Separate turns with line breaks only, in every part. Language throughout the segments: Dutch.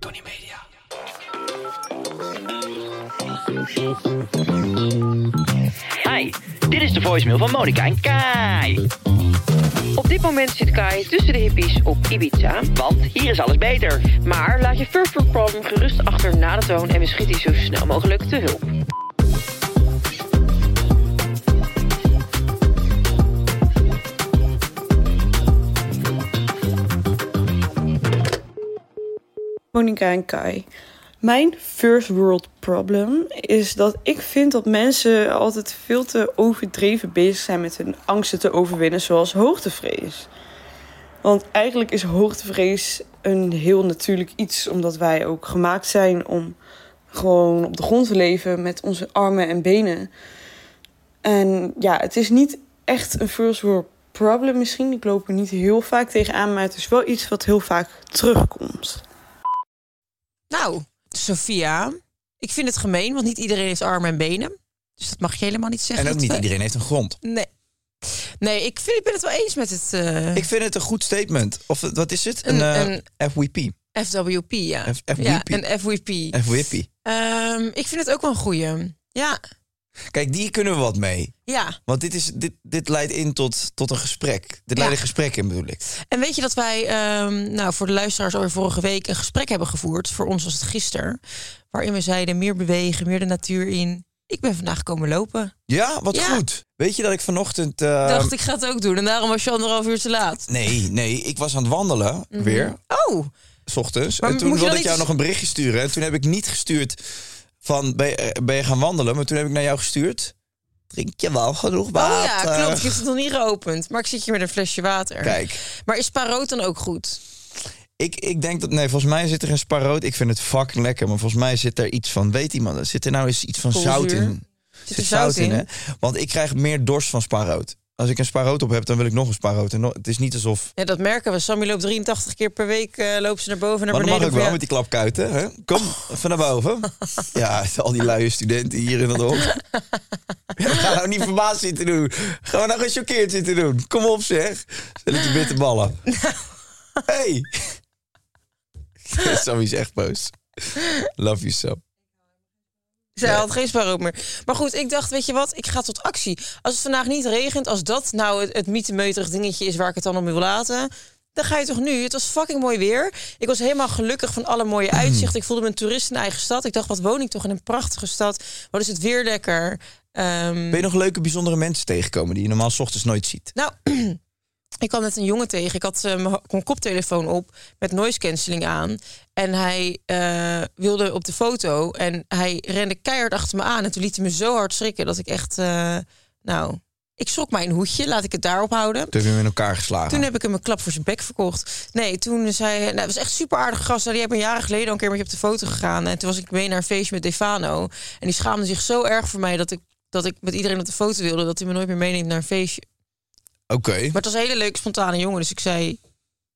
Tony Media.
Hi, dit is de voicemail van Monica en Kai.
Op dit moment zit Kai tussen de hippies op Ibiza.
Want hier is alles beter.
Maar laat je furfur problem gerust achter na de toon en we schieten je zo snel mogelijk te hulp.
Monika en Kai. Mijn first world problem is dat ik vind dat mensen altijd veel te overdreven bezig zijn met hun angsten te overwinnen, zoals hoogtevrees. Want eigenlijk is hoogtevrees een heel natuurlijk iets, omdat wij ook gemaakt zijn om gewoon op de grond te leven met onze armen en benen. En ja, het is niet echt een first world problem misschien. Ik loop er niet heel vaak tegenaan, maar het is wel iets wat heel vaak terugkomt.
Nou, Sophia, ik vind het gemeen, want niet iedereen heeft armen en benen. Dus dat mag je helemaal niet zeggen.
En ook
dat
niet
we-
iedereen heeft een grond.
Nee. Nee, ik, vind, ik ben het wel eens met het eh,
Ik vind het een goed statement. Of eh, wat is het? Een,
Een-
eh, FWP.
FWP, ja.
F- FWP.
Ja, een FWP.
FWP.
Ehm, ik vind het ook wel een goeie. Ja,
Kijk, die kunnen we wat mee.
ja.
Want dit, is, dit, dit leidt in tot, tot een gesprek. Dit leidt een gesprek in, bedoel ik.
En weet je dat wij, ehm, nou voor de luisteraars alweer vorige week, een gesprek hebben gevoerd. Voor ons was het gisteren. Waarin we zeiden meer bewegen, meer de natuur in. Ik ben vandaag komen lopen.
Ja, wat
Ja.
goed. Weet je dat ik vanochtend... eh,
Dacht ik ga het ook doen. En daarom was je anderhalf uur te laat.
Nee, nee, ik was aan het wandelen weer,
Oh,
s ochtends.
Maar
en toen
moet je
wilde
dan
ik jou
iets-
nog een berichtje sturen. En toen heb ik niet gestuurd van, ben je, eh, ben je gaan wandelen? Maar toen heb ik naar jou gestuurd, drink je wel genoeg
Oh
water?
ja, klopt. Ik heb het nog niet geopend. Maar ik zit hier met een flesje water.
Kijk,
Maar is Paroot dan ook goed?
ik, ik denk dat, nee, volgens mij zit er een sparoot. Ik vind het fucking lekker, maar volgens mij zit er iets van, weet iemand, zit er nou eens iets van
Koolzuur.
zout in?
Zit er zout in?
hè? Want ik krijg meer dorst van sparoot. Als ik een sparoot op heb, dan wil ik nog een sparoot. En nog- het is niet alsof...
Ja, dat merken we. Sammy loopt 83 keer per week eh, loopt ze naar boven en naar
Maar dat mag
beneden.
ook wel
voor
met die klapkuiten. Hè? Kom, van naar boven. Ja, al die luie studenten hier in dat hok. Ja, ga nou niet verbaasd zitten doen. Ga nou gechoqueerd zitten doen. Kom op zeg. Zet het je witte ballen.
Nou.
Hey. Sammy is echt boos. Love
Mm.
you so.
jou. Zij had geen spaarrood meer. Maar goed, ik dacht, weet je wat? Ik ga tot actie. Als het vandaag niet regent, als dat nou het, het mietemeuterig dingetje is waar ik het dan om wil laten... Dan ga je toch nu? Het was fucking mooi weer. Ik was helemaal gelukkig van alle mooie
Hmm.
uitzichten. Ik voelde me een toerist in eigen stad. Ik dacht, wat woon ik toch in een prachtige stad? Wat is het weer lekker? Ehm,
Ben je nog leuke, bijzondere mensen tegenkomen die je normaal 's ochtends nooit ziet?
Nou, ik kwam net een jongen tegen. Ik had eh, mijn ho- mijn koptelefoon op met noise cancelling aan. En hij eh, wilde op de foto. En hij rende keihard achter me aan. En toen liet hij me zo hard schrikken dat ik echt... eh, nou, ik schrok mijn hoedje. Laat ik het daarop houden.
Toen heb je hem in elkaar geslagen.
Toen heb ik hem een klap voor zijn bek verkocht. Nee, toen zei hij... Nou, het was echt super aardig gast. Die hebben jaren geleden al een keer met je op de foto gegaan. En toen was ik mee naar een feestje met Defano. En die schaamde zich zo erg voor mij dat ik, dat ik met iedereen op de foto wilde... dat hij me nooit meer meeneemt naar een feestje.
Oké. Nou
Maar het was een hele leuke, spontane jongen. Dus ik zei,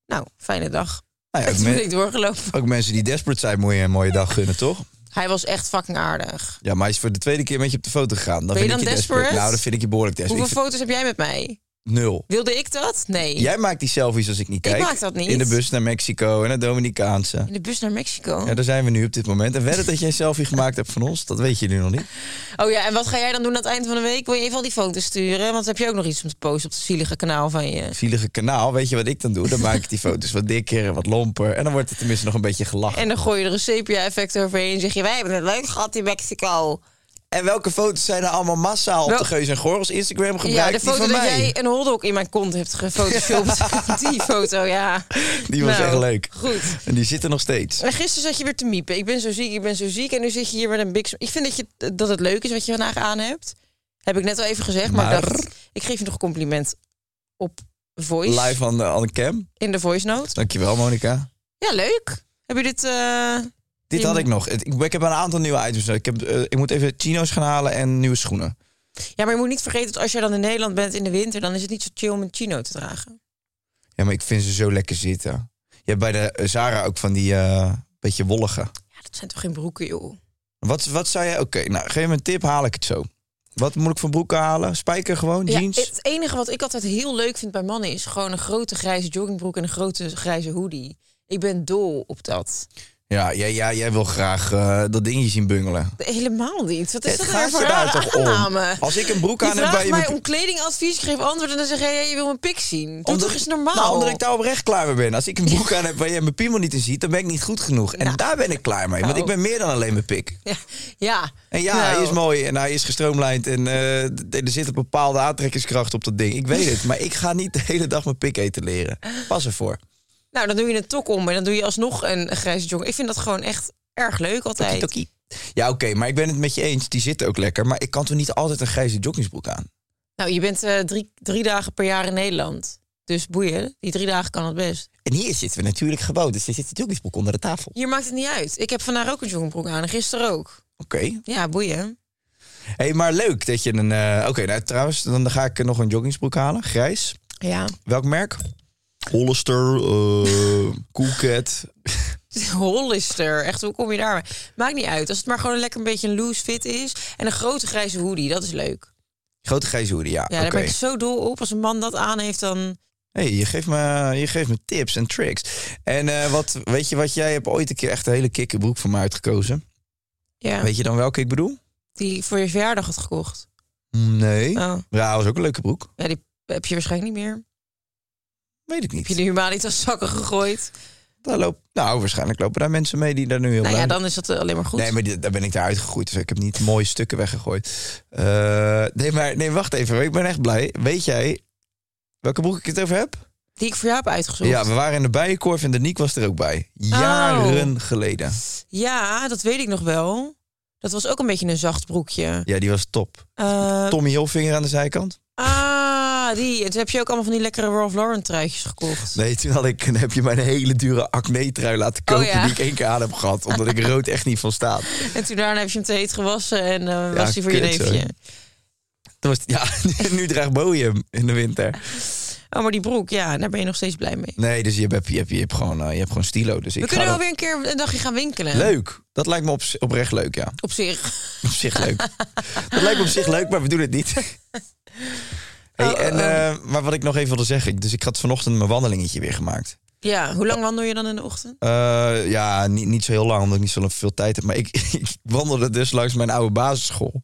nou, fijne dag.
Nou ja,
En
ook,
toen ben
men-
ik doorgelopen.
ook mensen die desperate zijn, moet je een mooie dag gunnen, toch?
Hij was echt fucking aardig.
Ja, maar hij is voor de tweede keer met je op de foto gegaan. Dan
Ben je
vind ik
dan
je
desperate?
Nou, dan vind ik je behoorlijk desperate.
Hoeveel
Ik vind-
foto's heb jij met mij?
Nul.
Wilde ik dat? Nee.
Jij maakt die selfies als ik niet
Ik
kijk.
maak dat niet.
In de bus naar Mexico en naar Dominicaanse.
In de bus naar Mexico.
Ja, daar zijn we nu op dit moment. En wedden dat jij een selfie gemaakt hebt van ons, dat weet je nu nog niet.
Oh ja, en wat ga jij dan doen aan het eind van de week? Wil je even al die foto's sturen? Want heb je ook nog iets om te posten op het zielige kanaal van je?
Zielige kanaal, weet je wat ik dan doe? Dan maak ik die foto's wat dikker en wat lomper. En dan wordt het tenminste nog een beetje gelachen. En,
En dan gooi je er een sepia-effect overheen en zeg je... wij hebben het leuk gehad in Mexico.
welke foto's zijn er allemaal massaal op
Wel-
de Geus en Gorgels Instagram gebruikt?
ja, de
Die
foto dat
van mij.
jij een hotdog in mijn kont hebt gefotoshopt. die foto, ja.
Die was
Nou,
echt leuk.
Goed.
En die zitten nog steeds.
En gisteren zat je weer te miepen. Ik ben zo ziek, ik ben zo ziek. En nu zit je hier met een big... sm- Ik vind dat, je, dat het leuk is wat je vandaag aan hebt. Heb ik net al even gezegd. Maar, ik,
Maar-
dacht, ik geef je nog een compliment op voice.
Live aan de, aan de cam.
In de voice note.
Dankjewel, Monica.
Ja, leuk. Heb je dit... eh,
Dit
In-
had ik nog. Het- Ik, ik heb een aantal nieuwe items. Ik, heb, eh, ik moet even chino's gaan halen en nieuwe schoenen.
Ja, maar je moet niet vergeten dat als jij dan in Nederland bent in de winter... dan is het niet zo chill om een chino te dragen.
Ja, maar ik vind ze zo lekker zitten. Je hebt bij de eh, Zara ook van die eh, beetje wollige.
Ja, dat zijn toch geen broeken, joh.
Wat, wat zou jij... Oké, nou, geef me een tip, haal ik het zo. Wat moet ik van broeken halen? Spijker gewoon, jeans?
Ja, het enige wat ik altijd heel leuk vind bij mannen... is gewoon een grote grijze joggingbroek en een grote grijze hoodie. Ik ben dol op dat.
Ja, jij, ja, jij wil graag eh, dat dingetje zien bungelen.
Helemaal niet. Wat is
Het
dat nou
gaat
voor
er nou
rare
toch om?
aanname?
Als ik een broek
Je
aan heb bij
vraagt
je...
mij om kledingadvies, ik geef antwoord en dan zeg jij, ja, je wil mijn pik zien. Doe
Omdat
toch eens
ik-
normaal.
Nou, omdat ik daar oprecht klaar mee ben. Als ik een broek aan heb waar jij mijn piemel niet in ziet, dan ben ik niet goed genoeg. En
Nou.
daar ben ik klaar mee, want ik ben meer dan alleen mijn pik.
Ja. ja.
En ja,
Nou,
hij is mooi en hij is gestroomlijnd en eh, d- er zit een bepaalde aantrekkingskracht op dat ding. Ik weet het, maar ik ga niet de hele dag mijn pik eten leren. Pas ervoor.
Nou, dan doe je een tok om en dan doe je alsnog een grijze jong. Ik vind dat gewoon echt erg leuk altijd.
Toki. Ja, oké, maar ik ben het met je eens. Die zitten ook lekker. Maar ik kan toch niet altijd een grijze joggingsbroek aan?
Nou, je bent eh, drie, drie dagen per jaar in Nederland. Dus boeien, die drie dagen kan het best.
En hier zitten we natuurlijk gewoon, dus er zit de joggingsbroek onder de tafel.
Hier maakt het niet uit. Ik heb vandaag ook een jongbroek aan en gisteren ook.
Oké.
Ja, boeien.
hey, maar leuk dat je een... eh, Oké, nou trouwens, dan ga ik eh, nog een joggingsbroek halen. Grijs.
Ja.
Welk merk? Hollister, eh Coolcat.
Hollister, echt, hoe kom je daar? Maakt niet uit. Als het maar gewoon lekker een beetje een loose fit is. En een grote grijze hoodie, dat is leuk.
Grote grijze hoodie, ja.
Ja,
oké.
daar ben ik zo dol op. Als een man dat aan heeft, dan...
Hey, je, geeft me, je geeft me tips en tricks. En eh, wat, weet je wat, jij hebt ooit een keer echt een hele kikke broek voor me uitgekozen.
Ja,
Weet je dan welke ik bedoel?
die voor je verjaardag had gekocht.
Nee.
Oh.
Ja, was ook een leuke broek.
Ja, die heb je waarschijnlijk niet meer.
Weet ik
Heb je
niet.
de humanitas zakken gegooid?
Daar loop, nou, waarschijnlijk lopen daar mensen mee die daar nu heel
nou ja,
blij mee-
dan is dat eh, alleen maar goed.
Nee, maar die- daar ben ik daar uitgegroeid. Dus ik heb niet mooie stukken weggegooid. Eh, nee, maar nee, wacht even. Ik ben echt blij. Weet jij welke broek ik het over heb?
Die ik voor jou heb uitgezocht.
Ja, we waren in de Bijenkorf en de Niek was er ook bij.
Oh.
Jaren geleden.
Ja, dat weet ik nog wel. Dat was ook een beetje een zacht broekje.
Ja, die was top.
Eh,
Tommy Hilfinger aan de zijkant.
ah, die. En toen heb je ook allemaal van die lekkere Ralph Lauren truitjes gekocht.
Nee, toen had ik, heb je mij een hele dure acne-trui laten
Oh,
kopen...
ja.
die ik één keer aan heb gehad, omdat ik rood echt niet van sta.
En toen daarna heb je hem te heet gewassen en eh,
Ja,
was hij voor je
kut,
neefje.
hoor. Toen was het- ja, nu draagt Bowie hem in de winter.
Oh, maar die broek, ja, daar ben je nog steeds blij mee.
Nee, dus je hebt, je hebt, je hebt, gewoon, eh, je hebt gewoon stilo. Dus ik
We
ga
kunnen wel
dat-
weer een keer een dagje gaan winkelen.
Leuk. Dat lijkt me op, oprecht leuk, ja.
Op zich.
Op zich leuk. dat lijkt me op zich leuk, maar we doen het niet. Hey,
Oh, oh,
en,
oh.
eh, maar wat ik nog even wilde zeggen... Dus ik had vanochtend mijn wandelingetje weer gemaakt.
Ja, hoe lang wandel je dan in de ochtend?
Eh, ja, niet, niet zo heel lang, omdat ik niet zo veel tijd heb. Maar ik, ik wandelde dus langs mijn oude basisschool.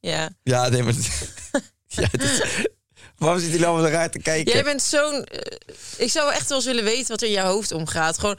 Ja.
Ja, nee, maar... ja, dit- waarom zit hij nou zo raar te kijken?
Jij bent zo'n... eh, ik zou echt wel eens willen weten wat er in je hoofd omgaat. Gewoon,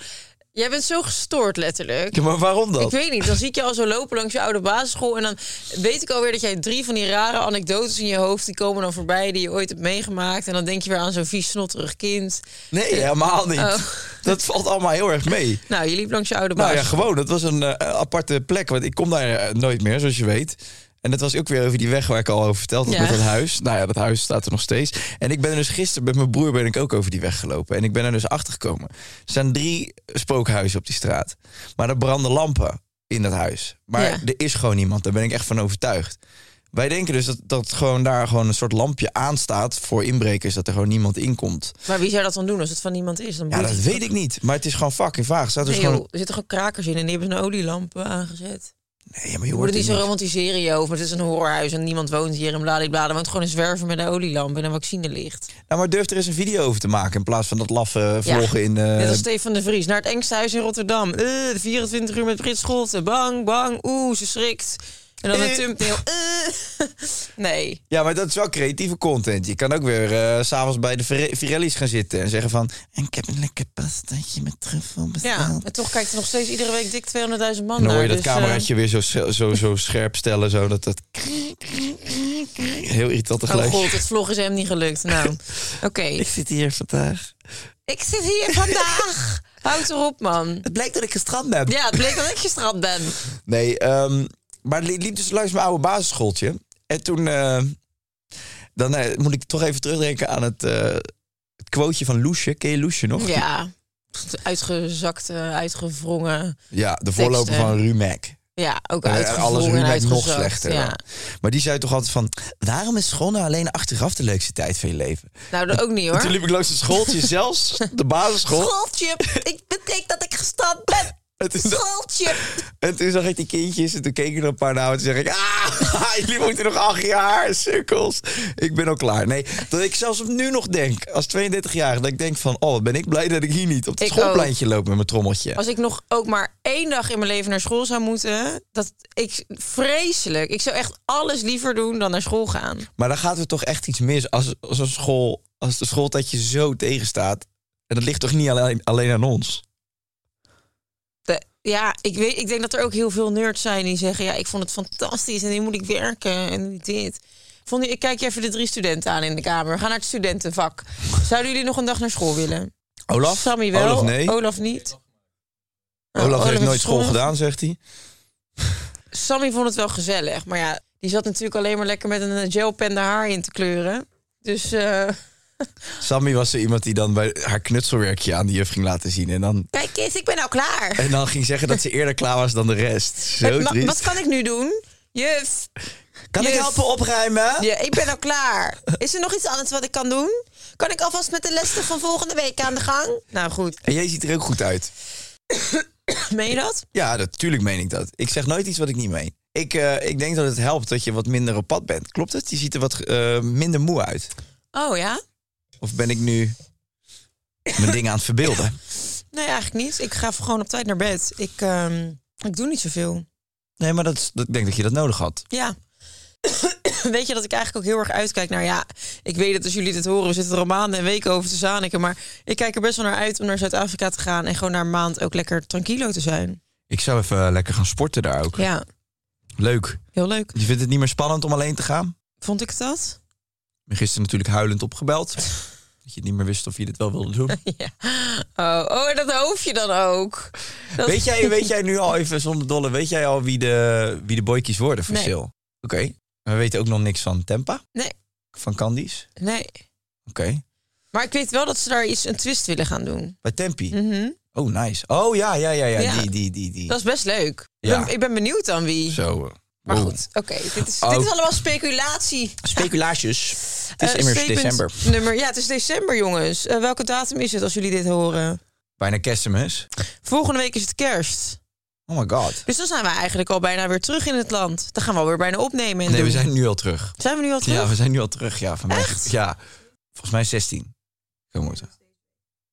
jij bent zo gestoord letterlijk.
Ja, maar waarom dan?
Ik weet niet, dan zie ik je al zo lopen langs je oude basisschool... en dan weet ik alweer dat jij drie van die rare anekdotes in je hoofd... die komen dan voorbij, die je ooit hebt meegemaakt... en dan denk je weer aan zo'n vies, snotterig kind.
Nee, helemaal niet.
Oh.
Dat valt allemaal heel erg mee.
Nou, je liep langs je oude
Nou ja,
basisschool.
gewoon. Dat was een eh, aparte plek. Want ik kom daar eh, nooit meer, zoals je weet. En dat was ook weer over die weg waar ik al over verteld had
Ja.
met dat huis. Nou ja, dat huis staat er nog steeds. En ik ben er dus gisteren met mijn broer ben ik ook over die weg gelopen. En ik ben er dus achter gekomen. Er staan drie spookhuizen op die straat. Maar er branden lampen in dat huis. Maar
Ja.
er is gewoon niemand. Daar ben ik echt van overtuigd. Wij denken dus dat, dat gewoon daar gewoon een soort lampje aanstaat voor inbrekers. Dat er gewoon niemand inkomt.
Maar wie zou dat dan doen als het van niemand is? Dan
Ja,
boeit
dat
het
weet ik niet. Maar het is gewoon fucking vaag. Er staat dus
Nee,
gewoon...
joh, er zitten ook krakers in en die hebben een olielamp eh, aangezet.
Nee, ja, maar je
Je
hoort
moet het niet
er
zo romantiseren, joh. Maar het is een horrorhuis en niemand woont hier en bladibla. Er woont gewoon een zwerver met een olielamp en een vaccinelicht.
Nou, maar durf er eens een video over te maken in plaats van dat laffe
Ja.
vloggen in... eh,
Net als Stefan de Vries, naar het engste huis in Rotterdam. Eh, 24 uur met Brit Scholten. Bang, bang, oeh, ze schrikt. En dan
Eh.
een thumbnail. Eh. Nee.
Ja, maar dat is wel creatieve content. Je kan ook weer eh, s s'avonds bij de Vire- Virelli's gaan zitten en zeggen van... En ik heb een lekker pastaatje met truffel
Ja,
besteld.
en toch kijkt er nog steeds iedere week dik 200.000 man
Ah. en dan
naar.
hoor je dat
dus, eh,
cameraatje weer zo, sche- zo, zo scherp stellen, zo dat dat... Heel irritant
Oh
tegelijk.
god, het vlog is hem niet gelukt. Nou, oké.
ik zit hier vandaag.
Ik zit hier vandaag. Houd erop, man.
Het blijkt dat ik gestrand ben.
Ja, het bleek dat ik gestrapt ben.
Nee, ehm, maar li- liep dus langs mijn oude basisschooltje. En toen... eh, dan eh, moet ik toch even terugdenken aan het... eh het quoteje van Loesje. Ken je Loesje nog?
Ja, uitgezakt, eh, uitgevrongen.
Ja, de voorloper
Teksten.
van Rumek.
Ja, ook
En
uitgevrongen.
Eh, alles
eh, en
Rumek nog
uitgezakt,
slechter.
Ja.
Maar die zei toch altijd van... waarom is school nou alleen achteraf de leukste tijd van je leven?
Nou, dat ook niet
En toen
hoor.
liep ik langs het schooltje zelfs, de basisschool.
Schooltje, ik bedenk dat ik gestrapt ben.
En toen, zag-
Schaltje!
en toen zag ik die kindjes en toen keek ik er een paar naar. En toen zeg ik, ah, jullie moeten nog acht jaar, sukkels. Ik ben al klaar. Nee, dat ik zelfs nu nog denk, als 32-jarige, dat ik denk van... oh, wat ben ik blij dat ik hier niet op het
Ik
schoolpleintje loop met mijn trommeltje.
Als ik nog ook maar één dag in mijn leven naar school zou moeten, dat ik vreselijk. Ik zou echt alles liever doen dan naar school gaan.
Maar dan gaat er toch echt iets mis als, als, een school, als de schooltijd je zo tegenstaat. En dat ligt toch niet alleen, alleen aan ons?
De- ja, ik, weet, ik denk dat er ook heel veel nerds zijn die zeggen: Ja, ik vond het fantastisch en nu moet ik werken en nu dit. Vond je, ik kijk je even de drie studenten aan in de kamer. Ga naar het studentenvak. Zouden jullie nog een dag naar school willen?
Olaf?
Sammy wel.
Olaf nee. Olaf,
Olaf niet. Oh,
heeft nooit school
geschoren.
gedaan, zegt hij.
Sammy vond het wel gezellig. Maar ja, die zat natuurlijk alleen maar lekker met een gelpen de haar in te kleuren. Dus eh,
Sammy was zo iemand die dan bij haar knutselwerkje aan de juf ging laten zien. En dan,
kijk eens, ik ben al klaar.
en dan ging zeggen dat ze eerder klaar was dan de rest. Zo
Het ma-
triest.
wat kan ik nu doen? Juf,
kan ik
juf.
helpen opruimen?
ja, ik ben al klaar. Is er nog iets anders wat ik kan doen? Kan ik alvast met de lessen van volgende week aan de gang? Nou goed,
En jij ziet er ook goed uit.
meen je dat?
Ja, natuurlijk meen ik dat. Ik zeg nooit iets wat ik niet meen. Ik, eh, ik denk dat het helpt dat je wat minder op pad bent. Klopt het? Je ziet er wat eh, minder moe uit.
Oh ja?
Of ben ik nu mijn dingen aan het verbeelden?
Nee, eigenlijk niet. Ik ga gewoon op tijd naar bed. Ik, ehm, ik doe niet zoveel.
Nee, maar dat, is- dat- ik denk dat je dat nodig had.
Ja. Weet je dat ik eigenlijk ook heel erg uitkijk naar... Ja, ik weet dat als jullie dit horen, we zitten er al maanden en weken over te zaniken. Maar ik kijk er best wel naar uit om naar Zuid-Afrika te gaan. En gewoon naar een maand ook lekker tranquilo te zijn.
Ik zou even eh, lekker gaan sporten daar ook.
Ja,
Leuk.
heel leuk.
Je vindt het niet meer spannend om alleen te gaan? Ik
Vond ik het dat?
ben gisteren natuurlijk huilend opgebeld. Dat je niet meer wist of je dit wel wilde doen.
Ja. Oh, oh, en dat hoofdje dan ook. Dat-
Weet jij, weet jij nu al even zonder dolle, weet jij al wie de, wie de boykies worden voor
Nee.
Sil? Oké. We weten ook nog niks van Tempa?
Nee.
Van Candies?
Nee.
Oké.
Maar ik weet wel dat ze daar iets een twist willen gaan doen.
Bij Tempi?
Mhm.
Oh, nice. Oh ja, ja, ja, ja.
Ja.
Die, die, die, die.
Dat is best leuk.
Ja.
Ik, ben, ik ben benieuwd dan wie.
Zo. eh,
Maar
wow.
goed, oké. Dit, is,
Oh.
dit is allemaal speculatie.
Speculaasjes. Het is
Eh,
immers
statement
december.
Nummer, ja, het is december, jongens. Eh, welke datum is het als jullie dit horen?
Bijna kerstmis.
Volgende week is het kerst.
Oh my god.
Dus dan zijn we eigenlijk al bijna weer terug in het land. Dan gaan we alweer bijna opnemen. En
Nee, we
doen.
zijn nu al terug.
Zijn we nu al terug?
Ja, we zijn nu al terug. Ja, van mij.
Echt?
Ja, volgens mij 16. Zo moeten.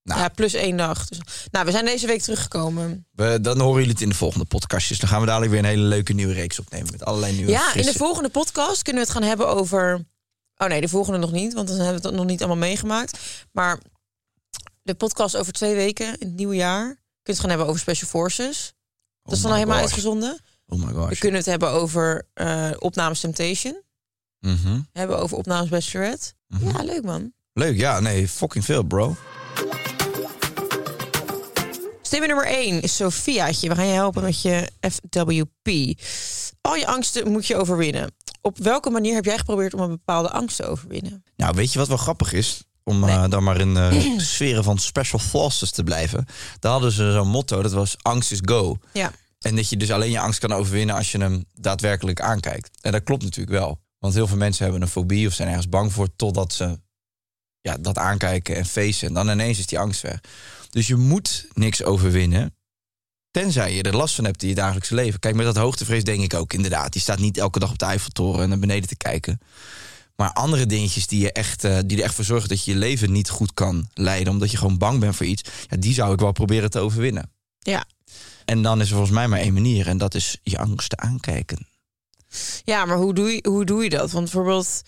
nou.
Ja, plus één dag. Dus, nou, we zijn deze week teruggekomen.
We, dan horen jullie het in de volgende podcastjes. Dan gaan we dadelijk weer een hele leuke nieuwe reeks opnemen. Met allerlei nieuwe
ja, in
frisse-
de volgende podcast kunnen we het gaan hebben over... Oh nee, de volgende nog niet, want dan hebben we het nog niet allemaal meegemaakt. Maar de podcast over twee weken, in het nieuwe jaar... kunnen we het gaan hebben over Special Forces.
Oh
Dat is dan
my
al helemaal
gosh.
uitgezonden.
Oh my
We
gosh.
kunnen het hebben over eh, opnames Temptation.
Mhm.
hebben over opnames Bachelorette. Ja, leuk man.
Leuk, ja. Nee, fucking veel, bro.
Stem nummer 1 is Sofiaatje. We gaan je helpen met je FWP. Al je angsten moet je overwinnen. Op welke manier heb jij geprobeerd om een bepaalde angst te overwinnen?
Nou, weet je wat wel grappig is? Om eh, dan maar in de sferen van special forces te blijven. Daar hadden ze zo'n motto, dat was angst is go.
Ja,
En dat je dus alleen je angst kan overwinnen als je hem daadwerkelijk aankijkt. En dat klopt natuurlijk wel. Want heel veel mensen hebben een fobie of zijn ergens bang voor totdat ze ja, dat aankijken en feesten. En dan ineens is die angst weg. Dus je moet niks overwinnen. Tenzij je er last van hebt in je dagelijkse leven. Kijk, met dat hoogtevrees denk ik ook inderdaad. Die staat niet elke dag op de Eiffeltoren en naar beneden te kijken. Maar andere dingetjes die, je echt, eh, die er echt voor zorgen dat je je leven niet goed kan leiden. Omdat je gewoon bang bent voor iets. Ja, die zou ik wel proberen te overwinnen.
ja.
En dan is er volgens mij maar één manier. En dat is je angsten aankijken.
ja maar hoe doe, je, hoe doe je dat? Want bijvoorbeeld...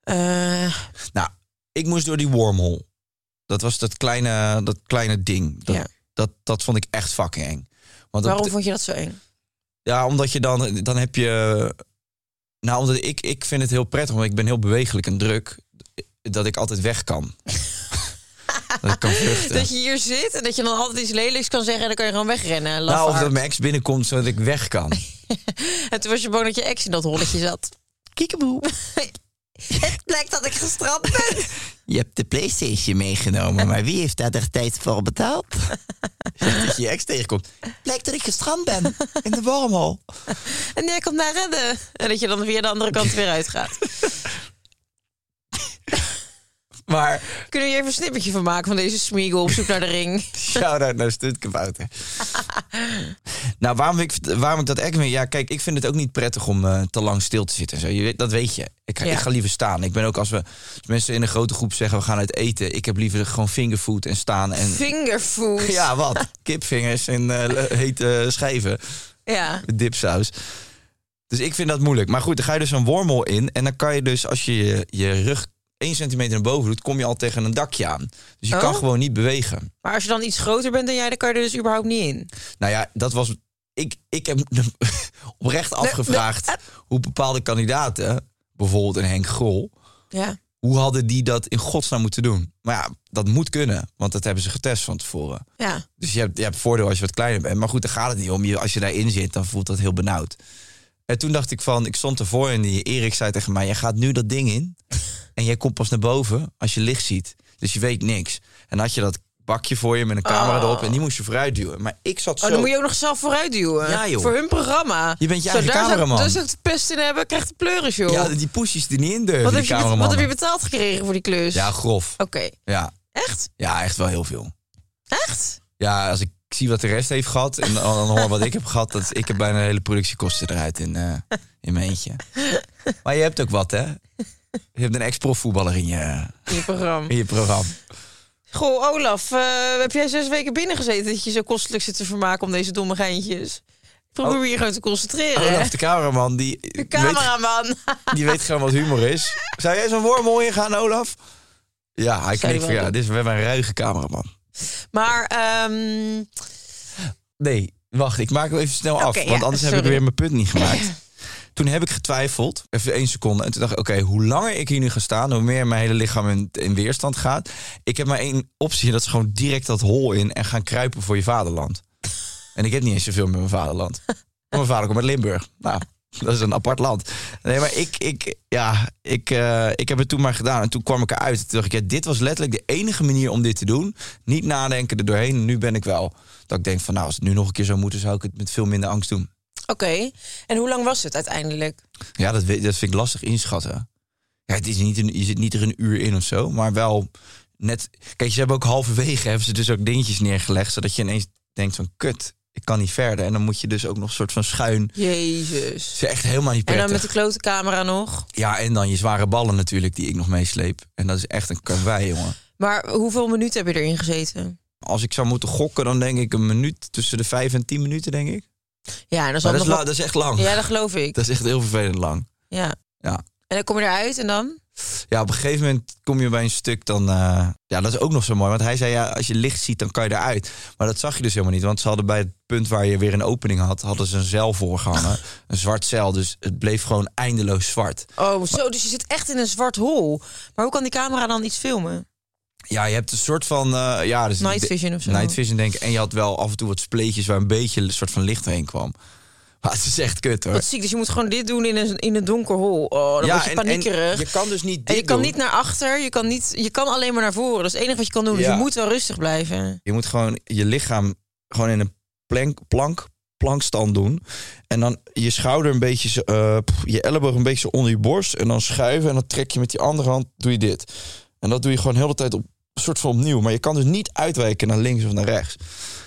eh,
Nou, ik moest door die wormhole. Dat was dat kleine, dat kleine ding. Dat,
Ja.
dat, dat vond ik echt fucking eng. Want dat
waarom vond je dat zo eng?
Ja, omdat je dan, dan heb je. Nou, omdat ik, ik vind het heel prettig, want ik ben heel bewegelijk en druk. Dat ik altijd weg kan. dat ik kan vluchten.
Dat je hier zit en dat je dan altijd iets lelijks kan zeggen... en dan kan je gewoon wegrennen. en
nou, of
lafaard.
dat mijn ex binnenkomt zodat ik weg kan.
En toen was je bang dat je ex in dat holletje zat. Kiekeboe. Het blijkt dat ik gestrapt ben.
Je hebt de PlayStation meegenomen, maar wie heeft daar de tijd voor betaald? dat je je ex tegenkomt. Blijkt dat ik gestrand ben in de wormhole.
En jij komt naar redden. En dat je dan weer de andere kant weer uitgaat.
Maar
Kunnen we hier even een snippertje van maken van deze smiegel op zoek naar de ring?
shout-out naar Stuntkabouter. nou, waarom ik, waarom ik dat echt meer... Ja, kijk, ik vind het ook niet prettig om eh, te lang stil te zitten. en Zo. Je weet, dat weet je. Ik ga,
Ja.
ik ga liever staan. Ik ben ook als we als mensen in een grote groep zeggen... we gaan uit eten. Ik heb liever gewoon fingerfood en staan. En,
Fingerfood.
ja, wat? Kipvingers en eh, le- hete schijven.
Ja.
met dipsaus. Dus ik vind dat moeilijk. Maar goed, dan ga je dus een wormhol in. En dan kan je dus, als je je, je rug 1 centimeter naar boven doet... kom je al tegen een dakje aan. Dus je
Oh.
kan gewoon niet bewegen.
Maar als je dan iets groter bent dan jij, dan kan je er dus überhaupt niet in.
Nou ja, dat was... Ik, ik heb oprecht afgevraagd hoe bepaalde kandidaten... bijvoorbeeld een Henk Grol...
Ja.
hoe hadden die dat in godsnaam moeten doen? Maar ja, dat moet kunnen. Want dat hebben ze getest van tevoren.
Ja. Oh,
Dus je hebt, je hebt voordeel als je wat kleiner bent. Maar goed, daar gaat het niet om. Je, als je daarin zit, dan voelt dat heel benauwd. En toen dacht ik van, ik stond ervoor en die Erik zei tegen mij... jij gaat nu dat ding in en jij komt pas naar boven als je licht ziet. Dus je weet niks. En dan had je dat bakje voor je met een camera
Oh.
erop en die moest je vooruit duwen. Maar ik zat
Oh,
zo...
dan moet je ook nog zelf vooruit duwen.
Ja, joh.
Voor hun programma.
Je bent je
Zo,
eigen
daar
cameraman.
Zou, daar zou ik de pest in hebben, krijgt de pleuris, joh.
Ja, die poesjes die niet in durven,
wat,
die
heb je, be-
cameraman.
wat heb je betaald gekregen voor die klus?
Ja,
Oké.
grof. Ja.
Echt?
ja, echt wel heel veel.
Echt?
Ja, als ik zie wat de rest heeft gehad en dan dan hoor wat ik heb gehad... Dat, ik heb bijna de hele productiekosten eruit in, eh, in mijn eentje. Maar je hebt ook wat, hè? Je hebt een ex-profvoetballer in je,
In je programma.
in je programma.
Goh, Olaf, eh, heb jij zes weken binnen gezeten dat je zo kostelijk zit te vermaken om deze domme geintjes? Ik
Oh.
probeer me hier gewoon te concentreren. hè?
Olaf, de cameraman, die,
De cameraman.
Weet, die weet gewoon wat humor is. Zou jij zo'n wormhol ingaan, Olaf? Ja, hij
die
knikt van
wel
ja,
doen.
dit is, we hebben een ruige cameraman.
Maar ehm,
Nee, wacht, ik maak hem even snel af.
Oké,
want
ja,
anders heb ik
sorry.
weer mijn punt niet gemaakt. Toen heb ik getwijfeld, even één seconde. En toen dacht ik, oké, hoe langer ik hier nu ga staan... hoe meer mijn hele lichaam in, in weerstand gaat. Ik heb maar één optie, en dat is gewoon direct dat hol in... en gaan kruipen voor je vaderland. En ik heb niet eens zoveel met mijn vaderland. Want Mijn vader komt uit Limburg. Nou, dat is een apart land. Nee, maar ik, ik, ja, ik, eh, ik heb het toen maar gedaan. En toen kwam ik eruit. Toen dacht ik, ja, dit was letterlijk de enige manier om dit te doen. Niet nadenken er doorheen. Nu ben ik wel. Dat ik denk van, nou, als het nu nog een keer zou moeten... zou ik het met veel minder angst doen.
oké. En hoe lang was het uiteindelijk?
Ja, dat, weet, dat vind ik lastig inschatten. Ja, het is niet een, je zit niet er een uur in of zo, maar wel net... Kijk, ze hebben ook halverwege hebben ze dus ook dingetjes neergelegd... zodat je ineens denkt van, kut, ik kan niet verder. En dan moet je dus ook nog een soort van schuin...
Jezus.
Het is echt helemaal niet
En
prettig.
dan met de klote camera nog.
Ja, en dan je zware ballen natuurlijk, die ik nog meesleep. En dat is echt een karwei, jongen.
Maar hoeveel minuten heb je erin gezeten?
Als ik zou moeten gokken, dan denk ik een minuut... tussen de vijf en tien minuten, denk ik.
Ja, en dan zal
Maar dat is,
nog
la-
wat-
dat is echt lang.
Ja, dat geloof ik.
Dat is echt heel vervelend lang.
Ja.
Ja.
En dan kom je eruit en dan?
Ja, op een gegeven moment kom je bij een stuk dan... eh, ja, dat is ook nog zo mooi. Want hij zei, ja, als je licht ziet, dan kan je eruit. Maar dat zag je dus helemaal niet. Want ze hadden bij het punt waar je weer een opening had... hadden ze een zeil voorgehangen. een zwart zeil. Dus het bleef gewoon eindeloos zwart.
Oh, zo, dus je zit echt in een zwart hol. Maar hoe kan die camera dan iets filmen?
Ja, je hebt een soort van... eh, ja, dus
Night vision of zo.
Night vision, denk ik. En je had wel af en toe wat spleetjes... waar een beetje een soort van licht heen kwam. Maar het is echt kut, hoor.
Wat ziek, dus je moet gewoon dit doen in een, in een donker hol. Oh, dan word je
en, en
paniekerig.
je kan dus niet
En
dit
je kan
doen.
niet naar achter, je kan, niet, je kan alleen maar naar voren. Dat is het enige wat je kan doen. Dus
Ja.
je moet wel rustig blijven.
Je moet gewoon je lichaam gewoon in een plank, plank, plankstand doen. En dan je schouder een beetje, zo, eh, pff, je elleboog een beetje zo onder je borst. En dan schuiven en dan trek je met die andere hand, doe je dit. En dat doe je gewoon heel de tijd op soort van opnieuw. Maar je kan dus niet uitwijken naar links of naar rechts.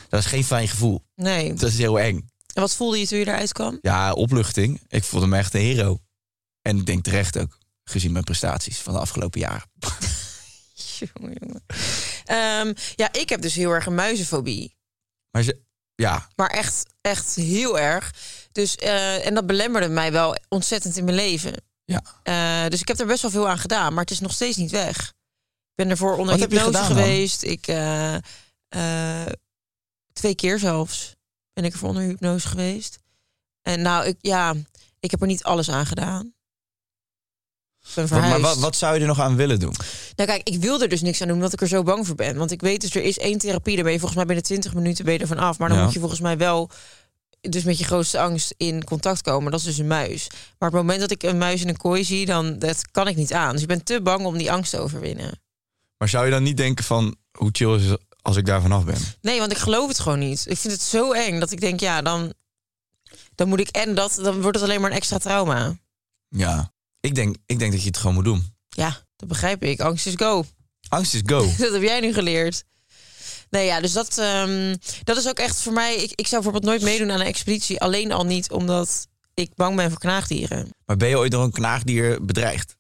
Dat is geen fijn gevoel.
Nee.
Dat is heel eng.
En wat voelde je toen je eruit kwam?
Ja, opluchting. Ik voelde me echt een hero. En ik denk terecht ook, gezien mijn prestaties van de afgelopen jaren.
Jongen, jongen. Ehm, ja, ik heb dus heel erg een muizenfobie.
Maar ze, ja,
Maar echt, echt heel erg. Dus, eh, en dat belemmerde mij wel ontzettend in mijn leven.
ja.
Eh, dus ik heb er best wel veel aan gedaan, maar het is nog steeds niet weg. Ik ben ervoor onder
Wat heb je
hypnose
gedaan dan?
geweest. Ik, eh, eh, twee keer zelfs ben ik ervoor onder hypnose geweest. En nou, ik, ja, ik heb er niet alles aan gedaan. Ik ben
Wat, maar
verhuisd.
wat, wat zou je er nog aan willen doen?
Nou kijk, ik wil er dus niks aan doen omdat ik er zo bang voor ben. Want ik weet dus, er is één therapie, daar ben je volgens mij binnen 20 minuten ben je ervan af. Maar dan
Ja.
moet je volgens mij wel dus met je grootste angst in contact komen. Dat is dus een muis. Maar op het moment dat ik een muis in een kooi zie, dan dat kan ik niet aan. Dus ik ben te bang om die angst te overwinnen.
Maar zou je dan niet denken van hoe chill is het als ik daar vanaf ben?
Nee, want ik geloof het gewoon niet. Ik vind het zo eng dat ik denk, ja, dan, dan moet ik... En dat, dan wordt het alleen maar een extra trauma.
Ja. Ik denk, ik denk dat je het gewoon moet doen.
Ja, dat begrijp ik. Angst is go.
Angst is go.
dat heb jij nu geleerd. Nee, ja, dus dat, ehm, dat is ook echt voor mij... Ik, ik zou bijvoorbeeld nooit meedoen aan een expeditie. Alleen al niet omdat ik bang ben voor knaagdieren.
Maar ben je ooit door een knaagdier bedreigd?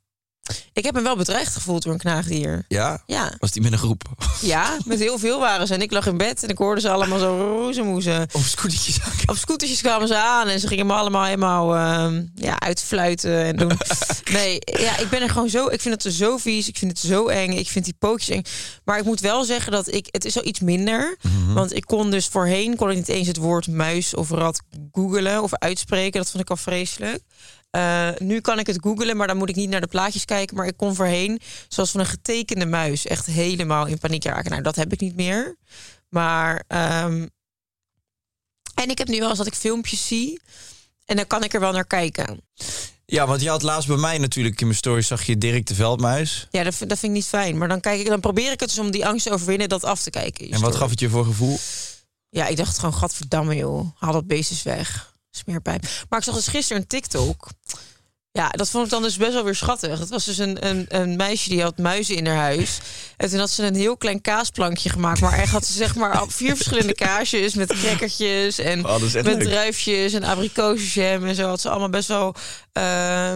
Ik heb me wel bedreigd gevoeld door een knaagdier.
Ja?
Ja,
Was die met een groep?
ja met heel veel waren ze. En ik lag in bed en ik hoorde ze allemaal zo roezemoezen.
Of scootertjes aan?
Op scootertjes kwamen ze aan en ze gingen me allemaal helemaal ehm, ja, uitfluiten en doen. Nee, ja, ik ben er gewoon zo. Ik vind het zo vies. Ik vind het zo eng. Ik vind die pootjes eng. Maar ik moet wel zeggen dat ik. Het is al iets minder. Want ik kon dus voorheen kon ik niet eens het woord muis of rat googelen of uitspreken. Dat vond ik al vreselijk. Eh, nu kan ik het googelen, maar dan moet ik niet naar de plaatjes kijken. Maar ik kon voorheen, zoals van een getekende muis, echt helemaal in paniek raken. Nou, dat heb ik niet meer. Maar ehm, en ik heb nu wel eens dat ik filmpjes zie. En dan kan ik er wel naar kijken.
Ja, want je had laatst bij mij natuurlijk in mijn story zag je Dirk de Veldmuis.
Ja, dat vind, dat vind ik niet fijn. Maar dan, kijk ik, dan probeer ik het dus om die angst te overwinnen dat af te kijken.
En wat gaf het je voor gevoel?
Ja, ik dacht gewoon, gadverdamme joh. Haal dat beest eens weg. Smeerpijp. Maar ik zag dus gisteren een TikTok. Ja, dat vond ik dan dus best wel weer schattig. Het was dus een, een, een meisje die had muizen in haar huis. En toen had ze een heel klein kaasplankje gemaakt. Maar echt had ze zeg maar al vier verschillende kaasjes met crackertjes en
Oh, dat is echt
met
leuk.
druifjes en abrikozenjam en zo. Had ze allemaal best wel... eh,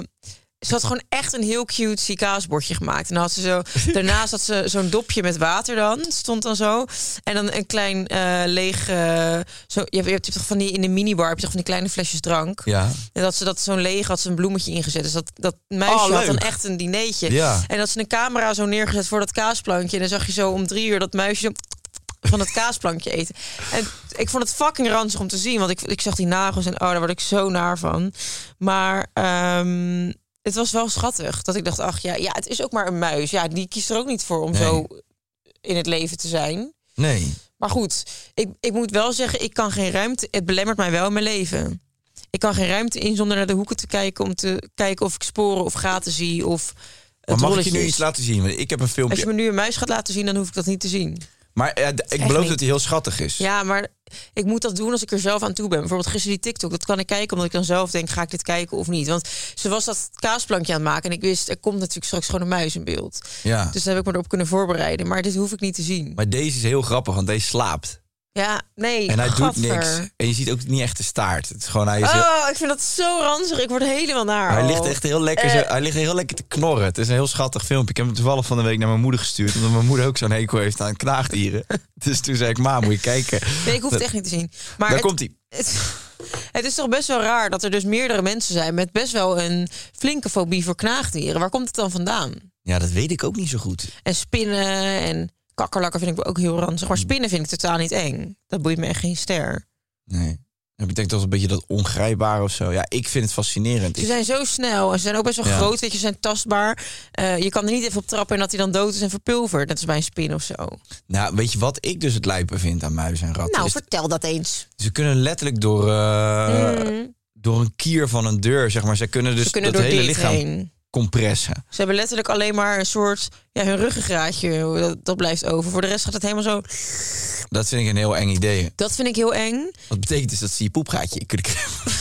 ze had gewoon echt een heel cute kaasbordje gemaakt. En dan had ze zo, daarnaast had ze zo'n dopje met water dan. Stond dan zo. En dan een klein eh, leeg... eh, zo, je, hebt, je hebt toch van die in de minibar heb je toch van die kleine flesjes drank.
Ja.
En dat ze dat zo'n leeg had ze een bloemetje ingezet. Dus dat, dat meisje
Oh,
had dan
leuk.
echt een dinertje.
Ja.
En dat ze een camera zo neergezet voor dat kaasplankje. En dan zag je zo om drie uur dat muisje zo van dat kaasplankje eten. En ik vond het fucking ranzig om te zien. Want ik, ik zag die nagels en oh, daar word ik zo naar van. Maar ehm, het was wel schattig. Dat ik dacht, ach ja, ja, het is ook maar een muis. Ja, die kiest er ook niet voor om
Nee.
zo in het leven te zijn.
Nee.
Maar goed, ik, ik moet wel zeggen, ik kan geen ruimte. Het belemmert mij wel in mijn leven. Ik kan geen ruimte in zonder naar de hoeken te kijken om te kijken of ik sporen of gaten zie of.
Maar
het
mag ik je
rolletje
nu
is.
iets laten zien? Want ik heb een
Als je
filmpje.
me nu een muis gaat laten zien, dan hoef ik dat niet te zien.
Maar eh, d- ik
echt
beloof
niet.
dat hij heel schattig is.
Ja, maar ik moet dat doen als ik er zelf aan toe ben. Bijvoorbeeld gisteren die TikTok, dat kan ik kijken omdat ik dan zelf denk, ga ik dit kijken of niet? Want ze was dat kaasplankje aan het maken en ik wist, er komt natuurlijk straks gewoon een muis in beeld.
Ja.
Dus daar heb ik me erop kunnen voorbereiden. Maar dit hoef ik niet te zien.
Maar deze is heel grappig, want deze slaapt.
Ja, nee.
En hij doet
gadver.
niks. En je ziet ook niet echt de staart. Het is gewoon, hij, is heel-
Oh, ik vind dat zo ranzig. Ik word helemaal naar. Oh.
hij
al.
ligt echt heel lekker,
Eh.
zo- hij ligt heel lekker te knorren. Het is een heel schattig filmpje. Ik heb hem toevallig van de week naar mijn moeder gestuurd. Omdat mijn moeder ook zo'n hekel heeft aan knaagdieren. dus toen zei ik, ma, moet je kijken.
Nee, ik hoef het echt niet te zien. Maar
Daar
het,
komt hij.
het, het is toch best wel raar dat er dus meerdere mensen zijn met best wel een flinke fobie voor knaagdieren. Waar komt het dan vandaan?
Ja, dat weet ik ook niet zo goed.
En spinnen en kakkerlakken vind ik ook heel ranzig. Maar spinnen vind ik totaal niet eng. Dat boeit me echt geen ster.
Nee. Dat betekent toch een beetje dat ongrijpbare of zo. Ja, ik vind het fascinerend.
Ze
Ik-
zijn zo snel en ze zijn ook best wel
Ja.
groot. Weet je, ze zijn tastbaar. Eh, je kan er niet even op trappen en dat hij dan dood is en verpulverd. Net als bij een spin of zo.
Nou, weet je wat ik dus het lijpen vind aan muizen en ratten?
Nou,
Is- Dus
vertel dat eens.
Ze kunnen letterlijk door, eh,
Mm.
door een kier van een deur, zeg maar. Ze kunnen dus
Ze kunnen
dat
door
hele
dit
lichaam
heen.
compressen.
Ze hebben letterlijk alleen maar een soort... Ja, hun ruggengraatje, dat, dat blijft over. Voor de rest gaat het helemaal zo...
Dat vind ik een heel eng idee.
Dat vind ik heel eng.
Dat betekent dus dat ze je poepgaatje in kunnen krijgen.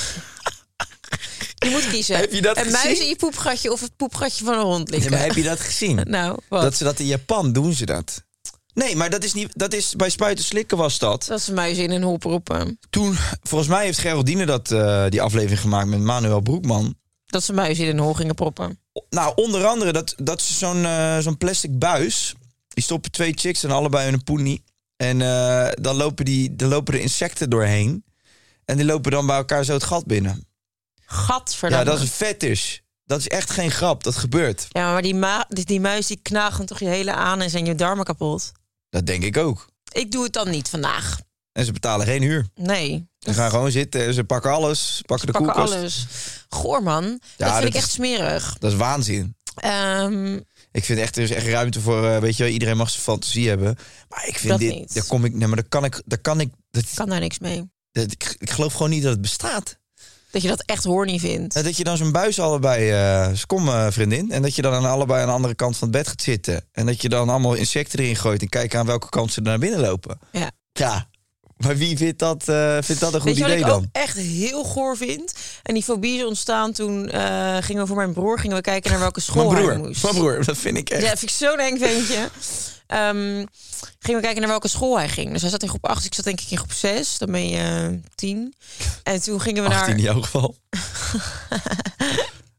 Je moet kiezen.
Heb je dat
een muis
gezien?
in je poepgatje of het poepgatje van een hond
Ja,
likken.
maar heb je dat gezien?
Nou, wat?
Dat
Dat,
ze dat in Japan doen ze dat. Nee, maar dat is niet. Dat is bij spuiten slikken was dat.
ze muizen in een hol proppen.
Toen, volgens mij heeft Geraldine dat eh, die aflevering gemaakt met Manuel Broekman.
Dat ze muizen in een hol gingen proppen.
Nou, onder andere dat, dat ze zo'n eh, zo'n plastic buis. Die stoppen twee chicks en allebei hun poenie. En eh, dan, lopen die, dan lopen de insecten doorheen. En die lopen dan bij elkaar zo het gat binnen.
Gadverdamme.
Ja, dat is een fetish. Dat is echt geen grap. Dat gebeurt.
Ja, maar die, ma die, die muis die knagen toch je hele aan en zijn je darmen kapot.
Dat denk ik ook.
Ik doe het dan niet vandaag.
En ze betalen geen huur.
Nee.
Ze gaan gewoon zitten. en Ze pakken alles. Pakken de
Pakken
koelkast.
alles. Goor, man. dat vind
dat
ik echt
is-
smerig.
Dat is waanzin.
Ehm,
Ik vind echt, er is echt ruimte voor, eh, weet je wel, iedereen mag zijn fantasie hebben. Maar ik vind
Dat
dit,
niet.
daar kom ik, nee, maar daar kan ik, daar kan ik, dat,
kan daar niks mee.
dat- ik, ik geloof gewoon niet dat het bestaat.
Dat je dat echt horny vindt.
Nou, dat je dan zo'n buis allebei, eh dus kom eh, vriendin, en dat je dan aan allebei aan de andere kant van het bed gaat zitten. En dat je dan allemaal insecten erin gooit en kijkt aan welke kant ze er naar binnen lopen.
Ja.
Ja, Maar wie vindt dat, eh, vindt dat een goed
Weet je wat
idee
ik ook
dan?
echt heel goor vind? En die fobieën ontstaan toen eh, gingen we voor mijn broer gingen we kijken naar welke
Mijn
school hij
broer,
moest.
mijn broer, dat vind ik echt.
Ja, vind ik zo'n eng ventje. Ehm, gingen we kijken naar welke school hij ging. Dus hij zat in groep 8, ik zat denk ik in groep 6. Dan ben je 10. En toen gingen we
18 in
naar
jouw geval.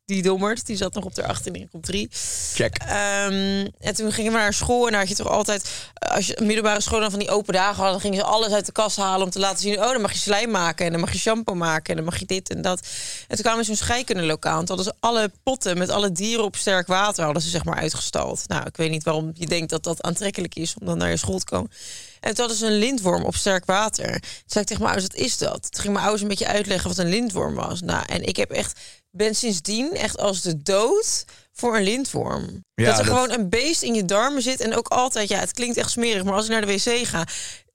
die dommerd. Die zat nog op de 18 in groep 3.
Check.
Ehm, en toen gingen we naar school en daar had je toch altijd... eh, Als je een middelbare school dan van die open dagen had... dan gingen ze alles uit de kast halen om te laten zien... oh, dan mag je slijm maken en dan mag je shampoo maken... en dan mag je dit en dat. En toen kwamen ze in zo'n scheikundelokaal... en toen hadden ze alle potten met alle dieren op sterk water... hadden ze zeg maar uitgestald. Nou, ik weet niet waarom je denkt dat dat aantrekkelijk is... om dan naar je school te komen. En toen hadden ze een lintworm op sterk water. Toen zei ik tegen mijn ouders, wat is dat? Toen ging mijn ouders een beetje uitleggen wat een lintworm was. Nou, en ik heb echt, ben sindsdien echt als de dood voor een lintworm.
Ja,
dat er
dat-
gewoon een beest in je darmen zit. En ook altijd, ja, het klinkt echt smerig, maar als ik naar de wc ga...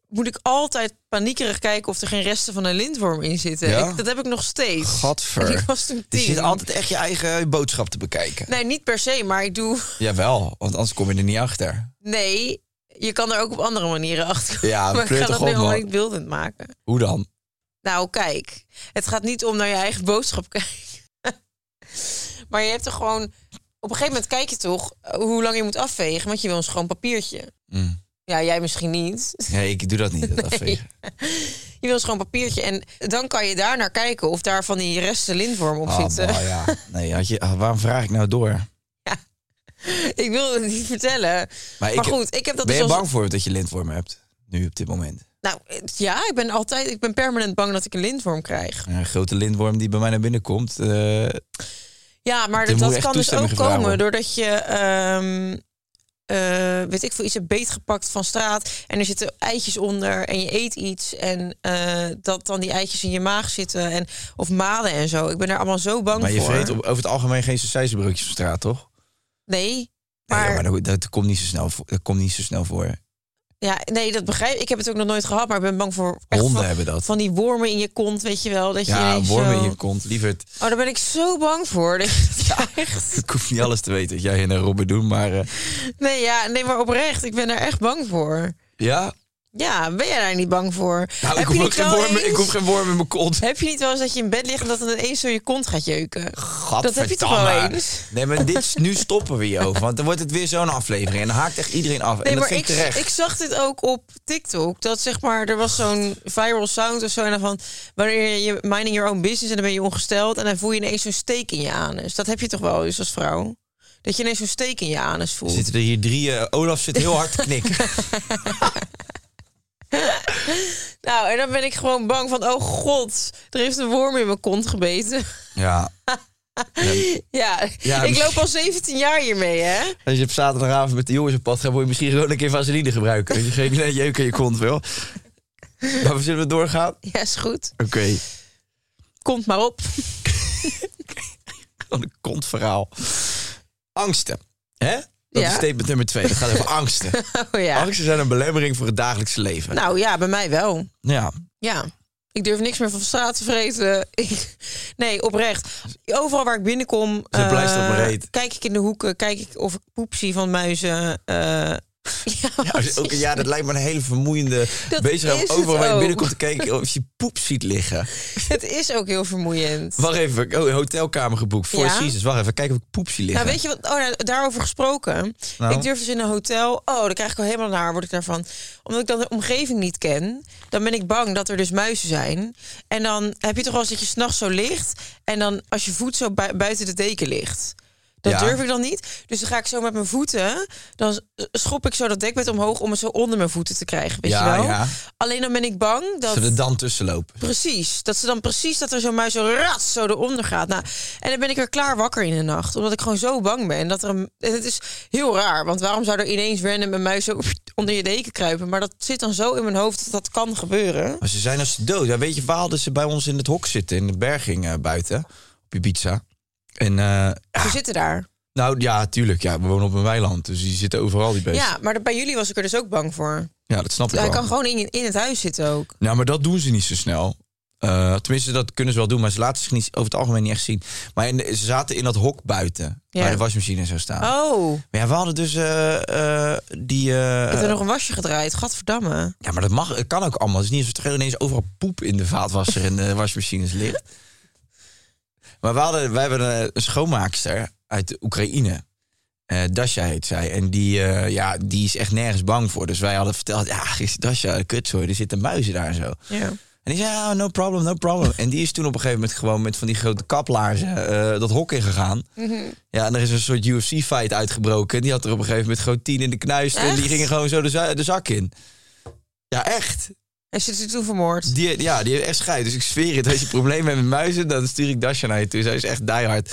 moet ik altijd paniekerig kijken of er geen resten van een lintworm in zitten.
Ja?
Ik- dat heb ik nog steeds.
Gadver.
Ik was toen
Je
tien.
zit altijd echt je eigen boodschap te bekijken.
Nee, niet per se, maar ik doe...
Jawel, want anders kom je er niet achter.
Nee, je kan er ook op andere manieren achter komen.
Ja,
maar ik
pleur
ga
toch
dat
op,
nu allemaal
man.
niet beeldend maken.
Hoe dan?
Nou, kijk, het gaat niet om naar je eigen boodschap kijken. maar je hebt er gewoon. Op een gegeven moment kijk je toch eh, hoe lang je moet afvegen, want je wil een schoon papiertje.
Mm.
Ja, jij misschien niet.
Nee, ik doe dat niet. Dat afvegen.
Je wil dus een schoon papiertje en dan kan je daar naar kijken of daar van die resten lintworm op
Ah,
zitten.
maar ja. Nee, had je, ah, waarom vraag ik nou door?
Ik wil het niet vertellen. Maar,
ik-
goed, ik heb dat dus
ben je
als-
bang voor dat je lintworm hebt? Nu op dit moment.
Nou, het- ja, ik ben altijd, ik ben permanent bang dat ik een lintworm krijg.
Een grote lintworm die bij mij naar binnen komt. eh,
Ja, maar
Er
dat,
moet
dat
echt
kan dus
toestemming
ook
gevraagd
komen
worden.
doordat je, ehm, eh, weet ik veel, iets hebt beetgepakt van straat en er zitten eitjes onder en je eet iets en eh, dat dan die eitjes in je maag zitten en of maden en zo. Ik ben daar allemaal zo bang
maar je
voor.
vreet op- over het algemeen geen sausijzenbroodjes op straat, toch?
Nee,
Nee,
maar,
ja, maar dat, dat komt niet zo snel voor. Dat komt niet zo snel voor.
ja, nee, dat begrijp ik. Ik heb het ook nog nooit gehad, maar ik ben bang voor echt
Honden
van,
hebben dat.
van die wormen in je kont, weet je wel, dat je
ja,
ineens
wormen in
zo-
je kont. Lieverd,
Oh, daar ben ik zo bang voor. Dat je het krijgt.
ik hoef niet alles te weten dat jij en eh, Robben doen, maar eh,
Nee, ja, nee, maar oprecht, ik ben daar echt bang voor.
ja.
Ja, ben jij daar niet bang voor?
Nou, ik
je
hoef, ook
niet
geen
wel
worm,
eens-
ik hoef geen worm in mijn kont.
Heb je niet wel eens dat je in bed ligt en dat het ineens zo je kont gaat jeuken?
Gadverdamme.
heb je toch wel eens?
Nee, maar dit, is- nu stoppen we hierover. Want dan wordt het weer zo'n aflevering. En dan haakt echt iedereen af. en
Nee,
dat
maar
vind
ik,
ik terecht.
ik zag dit ook op TikTok. Dat zeg maar, er was zo'n viral sound of zo. En dan van, wanneer je minding your own business en dan ben je ongesteld. En dan voel je ineens zo'n steek in je anus. Dat heb je toch wel eens als vrouw? Dat je ineens zo'n steek in je anus voelt.
Zitten er hier drie... eh, Olaf zit heel hard te knikken.
Nou, en dan ben ik gewoon bang van, oh god, er heeft een worm in mijn kont gebeten.
ja.
ja,
Ja, dus-
ik
misschien-
loop al 17 jaar hiermee, hè?
Als je op zaterdagavond met de jongens op pad gaat... moet je misschien gewoon een keer vaseline gebruiken. Als je geen eh, jeuk in je kont wil. Maar we zullen we doorgaan? Oké.
Ja, is goed. Komt maar op.
Wat een kontverhaal. Angsten. Hè? Dat
Ja.
is statement nummer twee. Dat gaat over angsten.
Oh ja.
Angsten zijn een belemmering voor het dagelijkse leven.
Nou ja, bij mij wel.
Ja.
Ja. Ik durf niks meer van straat te vreten. Ik, nee, oprecht. Overal waar ik binnenkom,
Ze
eh,
blijft op reet.
kijk ik in de hoeken, kijk ik of ik poep zie van muizen. eh, ja,
Ja, ook, ja, dat lijkt me een hele vermoeiende
Dat
bezigheid.
is
om Overal
het
waar je
ook.
binnenkomt te kijken of je poep ziet liggen.
het is ook heel vermoeiend.
Wacht even, oh, hotelkamer geboekt. Four
Ja?
Seasons, wacht even, kijken of ik poep zie liggen.
Nou, weet je wat? Oh, nou, daarover gesproken.
Nou.
Ik durf dus in een hotel. Oh, dan krijg ik al helemaal naar, word ik daarvan. Omdat ik dan de omgeving niet ken, dan ben ik bang dat er dus muizen zijn. En dan heb je toch wel eens dat je s'nachts zo ligt. En dan als je voet zo bui- buiten de deken ligt. Dat
Ja.
durf ik dan niet. Dus dan ga ik zo met mijn voeten. Dan s- schop ik zo dat dekbed omhoog om het zo onder mijn voeten te krijgen. Weet
Ja,
je wel?
ja.
Alleen dan ben ik bang dat.
Ze er dan tussen lopen.
Precies. Dat ze dan precies dat er zo'n muis zo ras zo eronder gaat. Nou, en dan ben ik weer klaar wakker in de nacht. Omdat ik gewoon zo bang ben. Dat er een, en het is heel raar. Want waarom zou er ineens random een muis zo onder je deken kruipen? Maar dat zit dan zo in mijn hoofd dat dat kan gebeuren.
Maar ze zijn als ze dood. Ja, weet je, waar hadden ze bij ons in het hok zitten, in de berging eh, buiten, op Ibiza. En eh,
Ze zitten daar.
nou ja, tuurlijk, ja, we wonen op een weiland, dus die zitten overal die beesten.
Ja, maar bij jullie was ik er dus ook bang voor.
Ja, dat snap ik
Hij
wel.
kan gewoon in, in het huis zitten ook.
Nou, maar dat doen ze niet zo snel. Eh, Eh, tenminste, dat kunnen ze wel doen, maar ze laten zich niet, over het algemeen niet echt zien. Maar in de- ze zaten in dat hok buiten,
Ja.
waar de wasmachine zou staan.
Oh,
Maar ja, we hadden dus eh, eh, die... eh,
ik heb er nog een wasje gedraaid. Gadverdamme.
Ja, maar dat mag, het kan ook allemaal. Het is niet alsof er ineens overal poep in de vaatwasser en de wasmachines ligt. Maar we, hadden, we hebben eh, een, een schoonmaakster uit Oekraïne. Eh Dasha heet zij. En die, eh, ja, die is echt nergens bang voor. Dus wij hadden verteld, ja, is Dasha, kut hoor, er zitten muizen daar en zo.
Ja.
En die zei, ja, no problem, no problem. En die is toen op een gegeven moment gewoon met van die grote kaplaarzen eh, dat hok ingegaan.
Mhm.
Ja, en er is een soort UFC-fight uitgebroken. En die had er op een gegeven moment gewoon tien in de knuist. En die
Echt?
gingen gewoon zo de, za- de zak in. Ja, echt.
En ze is toen vermoord.
Die, ja, die heeft echt scheid. Dus ik zweer het, als je problemen hebt met muizen, dan stuur ik Dasha naar je toe. Zij is echt diehard.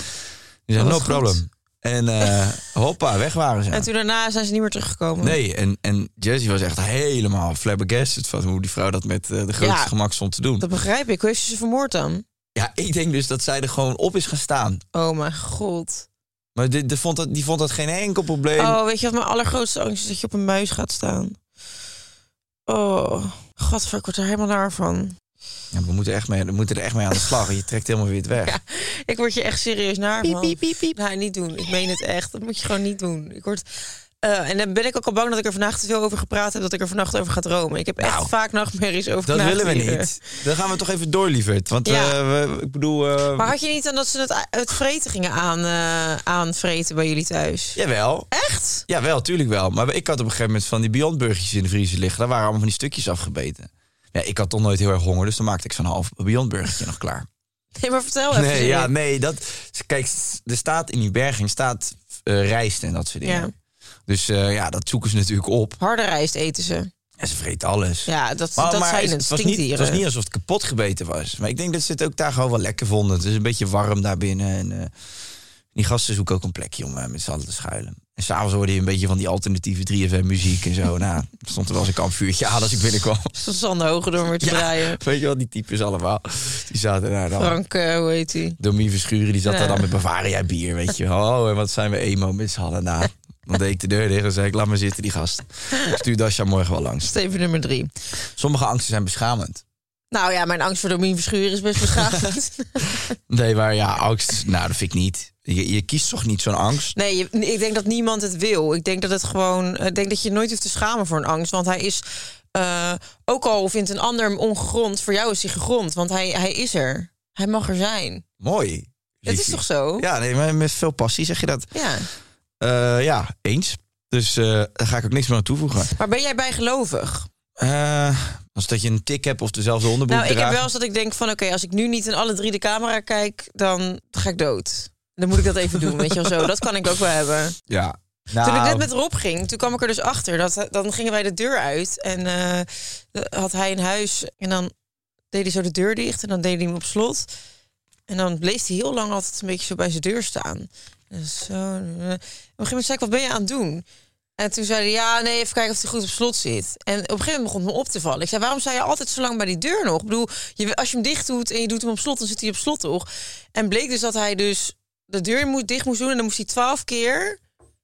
Die zei,
Wat
no
goed.
problem. En eh, hoppa, weg waren ze.
En toen daarna zijn ze niet meer teruggekomen.
Nee, en, en Jessie was echt helemaal flabbergasted van hoe die vrouw dat met eh, de grootste
Ja.
gemak stond te doen.
Dat begrijp ik. Hoe heeft ze ze vermoord dan?
Ja, ik denk dus dat zij er gewoon op is gaan staan.
Oh mijn god.
Maar dit, die, vond dat, die vond dat geen enkel probleem.
Oh, weet je wat mijn allergrootste angst is? Dat je op een muis gaat staan. Oh, godver, ik word er helemaal naar van.
Ja, we, moeten echt mee, we moeten er echt mee aan de slag. Je trekt helemaal weer het weg.
Ja, ik word je echt serieus naar van. Nou, niet doen. Ik meen het echt. Dat moet je gewoon niet doen. Ik word... eh, en dan ben ik ook al bang dat ik er vandaag te veel over gepraat heb... dat ik er vannacht over ga dromen. Ik heb echt
Nou,
vaak nachtmerries over
Dat willen we
knaagdieren.
niet. Dan gaan we toch even door, lieverd. Want
nou, Ja.
eh, we, ik bedoel... eh,
Maar had je niet dan dat ze het, het vreten gingen aan, eh, aanvreten bij jullie thuis?
Jawel.
Echt?
Jawel, tuurlijk wel. Maar ik had op een gegeven moment van die Beyond Burgertjes in de vriezer liggen. Daar waren allemaal van die stukjes afgebeten. Ja, ik had toch nooit heel erg honger, dus dan maakte ik zo'n half Beyond Burgertje nog klaar.
Nee, maar vertel Oh, even.
Nee, ja,
Jurk.
nee, dat... Kijk, er staat in die berging staat eh, rijst en dat soort dingen. Dus eh, ja, dat zoeken ze natuurlijk op.
Harde rijst eten ze.
En ze vreet alles.
Ja, dat, dat zijn het.
was niet, het
stinkdieren.
was niet alsof het kapot gebeten was. Maar ik denk dat ze het ook daar gewoon wel lekker vonden. Het is een beetje warm daar binnen. En eh, die gasten zoeken ook een plekje om eh, met z'n allen te schuilen. En s'avonds hoorde je een beetje van die alternatieve 3FM muziek en zo. nou, er stond er wel eens een kampvuurtje aan als ik binnenkwam.
Stond Sander Hoger door weer te
Ja.
draaien.
Weet je wel, die types allemaal. Die zaten daar dan.
Frank, eh, hoe heet hij?
Domien Verschuren, die zat daar
Ja.
dan met Bavaria bier, weet je wel. Oh, en wat zijn we emo met z'n allen. Nou, dan deed ik de deur dicht en zei ik, laat maar zitten die gast. Ik stuur Dasha morgen wel langs.
Steven nummer drie.
Sommige angsten zijn beschamend.
Nou ja, mijn angst voor Domien Verschuren is best beschavend.
Nee, maar ja, angst, nou, dat vind ik niet. Je, je kiest toch niet zo'n angst?
nee, je- ik denk dat niemand het wil. Ik denk dat het gewoon. eh, Ik denk dat je nooit hoeft te schamen voor een angst. Want hij is. eh, ook al vindt een ander hem ongegrond, voor jou is hij gegrond. Want hij, hij is er. Hij mag er zijn.
Mooi.
Dat is
Liefie.
toch zo?
Ja, nee, maar met veel passie zeg je dat.
Ja.
Eh, ja, eens. Dus eh, daar ga ik ook niks meer aan toevoegen.
Maar ben jij bijgelovig?
Eh, als dat je een tik hebt of dezelfde onderbroek
Nou, ik heb
draagt.
wel eens dat ik denk van... oké, als ik nu niet in alle drie de camera kijk... dan ga ik dood. Dan moet ik dat even doen, weet je wel zo. Dat kan ik ook wel hebben.
Ja. Nou,
Toen ik net met Rob ging, toen kwam ik er dus achter. Dat, dan gingen wij de deur uit en eh, dan had hij een huis. En dan deed hij zo de deur dicht en dan deed hij hem op slot. En dan bleef hij heel lang altijd een beetje zo bij zijn deur staan. En zo, eh. Op een gegeven moment zei ik, wat ben je aan het doen? En toen zei hij, ja, nee, even kijken of hij goed op slot zit. En op een gegeven moment begon het me op te vallen. Ik zei, waarom sta je altijd zo lang bij die deur nog? Ik bedoel, je, als je hem dicht doet en je doet hem op slot, dan zit hij op slot toch? En bleek dus dat hij dus de deur moet, dicht moest doen. En dan moest hij twaalf keer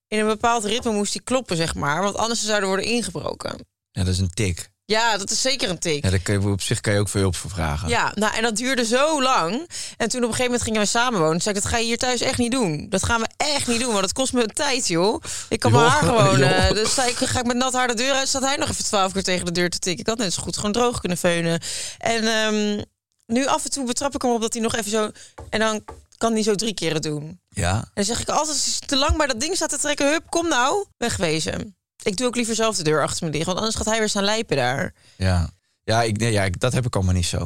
in een bepaald ritme moest hij kloppen, zeg maar. Want anders zouden worden ingebroken.
Ja, dat is een tik.
Ja, dat is zeker een tik.
Ja, daar kun je, op zich kan je ook veel hulp voor vragen.
Ja, nou, en dat duurde zo lang. En toen op een gegeven moment gingen we samenwonen. Toen zei ik, dat ga je hier thuis echt niet doen. Dat gaan we echt niet doen, want dat kost me tijd, joh. Ik kan mijn
Joh,
haar gewoon...
joh.
eh, dus zei ik, ga ik met nat haar de deur uit... zat hij nog even twaalf keer tegen de deur te tikken. Ik had net zo goed gewoon droog kunnen veunen. En ehm, nu af en toe betrap ik hem op dat hij nog even zo... En dan kan hij zo drie keren doen.
Ja?
En dan zeg ik altijd, als je te lang bij dat ding staat te trekken, hup, kom nou, wegwezen. Ik doe ook liever zelf de deur achter me dicht, want anders gaat hij weer staan lijpen daar.
Ja. Ja, ik, nee, ja ik, dat heb ik allemaal niet zo.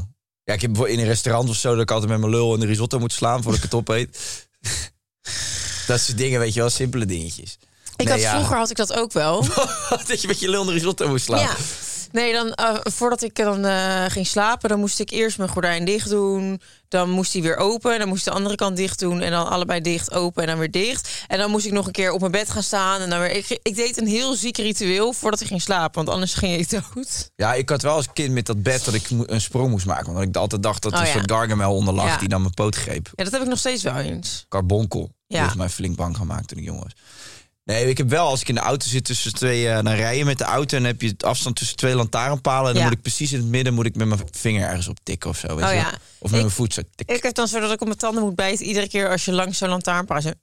Ja, ik heb bijvoorbeeld in een restaurant of zo dat ik altijd met mijn lul in de risotto moet slaan voordat ik het opeet. dat soort dingen, weet je wel, simpele dingetjes.
Ik
Nee,
had,
ja.
Vroeger had ik dat ook wel.
dat je met je lul in de risotto moet slaan.
Ja. Nee, dan, eh, voordat ik dan eh, ging slapen, dan moest ik eerst mijn gordijn dicht doen. Dan moest die weer open. Dan moest ik de andere kant dicht doen. En dan allebei dicht, open en dan weer dicht. En dan moest ik nog een keer op mijn bed gaan staan. En dan weer... ik, ik deed een heel ziek ritueel voordat ik ging slapen, want anders ging ik dood.
Ja, ik had wel als kind met dat bed dat ik mo- een sprong moest maken. Want ik altijd dacht dat er
Oh,
een
ja.
soort gargamel onder lag
Ja.
die dan mijn poot greep.
Ja, dat heb ik nog steeds wel eens.
Carbonkel.
Ja.
Die heeft mij flink bang gemaakt toen ik jong was. Nee, ik heb wel, als ik in de auto zit tussen twee, eh dan rij je met de auto en dan heb je het afstand tussen twee lantaarnpalen. En dan
Ja.
moet ik precies in het midden moet ik met mijn vinger ergens op tikken of zo. Weet
Oh
je? wel.
ja.
Of met
Ik-
mijn voet zo tik.
Ik heb dan zo dat ik op mijn tanden moet bijten iedere keer als je langs zo'n lantaarnpaal zit.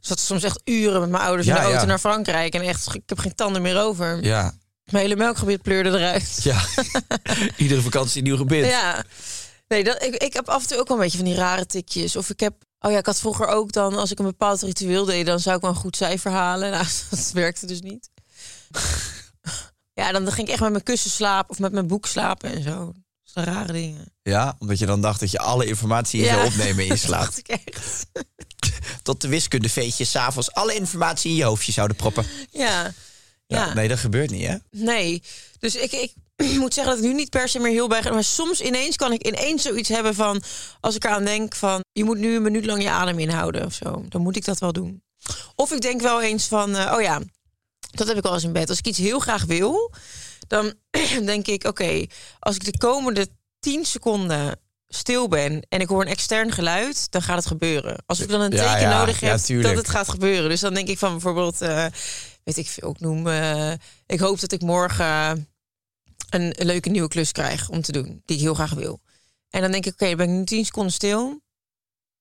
Dus dat is soms echt uren met mijn ouders
Ja,
in de auto
ja.
naar Frankrijk. En echt, ik heb geen tanden meer over.
Ja,
Mijn hele melkgebied pleurde eruit.
ja. iedere vakantie een nieuw gebit.
Ja. Nee, dat, ik, ik heb af en toe ook wel een beetje van die rare tikjes. Of ik heb... Oh ja, ik had vroeger ook dan, als ik een bepaald ritueel deed... dan zou ik wel een goed cijfer halen. Nou, dat werkte dus niet. ja, dan ging ik echt met mijn kussen slapen of met mijn boek slapen en zo. Dat zijn rare dingen.
Ja, omdat je dan dacht dat je alle informatie in
Ja.
zou opnemen in je
Dat
slaap.
dacht ik echt.
Tot de wiskundeveetjes s'avonds alle informatie in je hoofdje zouden proppen.
Ja.
Ja.
Ja.
Nee, dat gebeurt niet, hè?
Nee. Dus ik, ik moet zeggen dat ik nu niet per se meer heel bij... Maar soms ineens kan ik ineens zoiets hebben van... Als ik eraan denk van... Je moet nu een minuut lang je adem inhouden of zo. Dan moet ik dat wel doen. Of ik denk wel eens van... eh, oh ja, dat heb ik wel eens in bed. Als ik iets heel graag wil... Dan denk ik, oké, als ik de komende 10 seconden stil ben en ik hoor een extern geluid, dan gaat het gebeuren. Als ik dan een
Ja,
teken
ja,
nodig
ja,
heb
tuurlijk.
dat het gaat gebeuren. Dus dan denk ik van bijvoorbeeld, eh, weet ik veel, ook noem, eh, ik hoop dat ik morgen een leuke nieuwe klus krijg om te doen, die ik heel graag wil. En dan denk ik, oké, dan ben ik nu 10 seconden stil.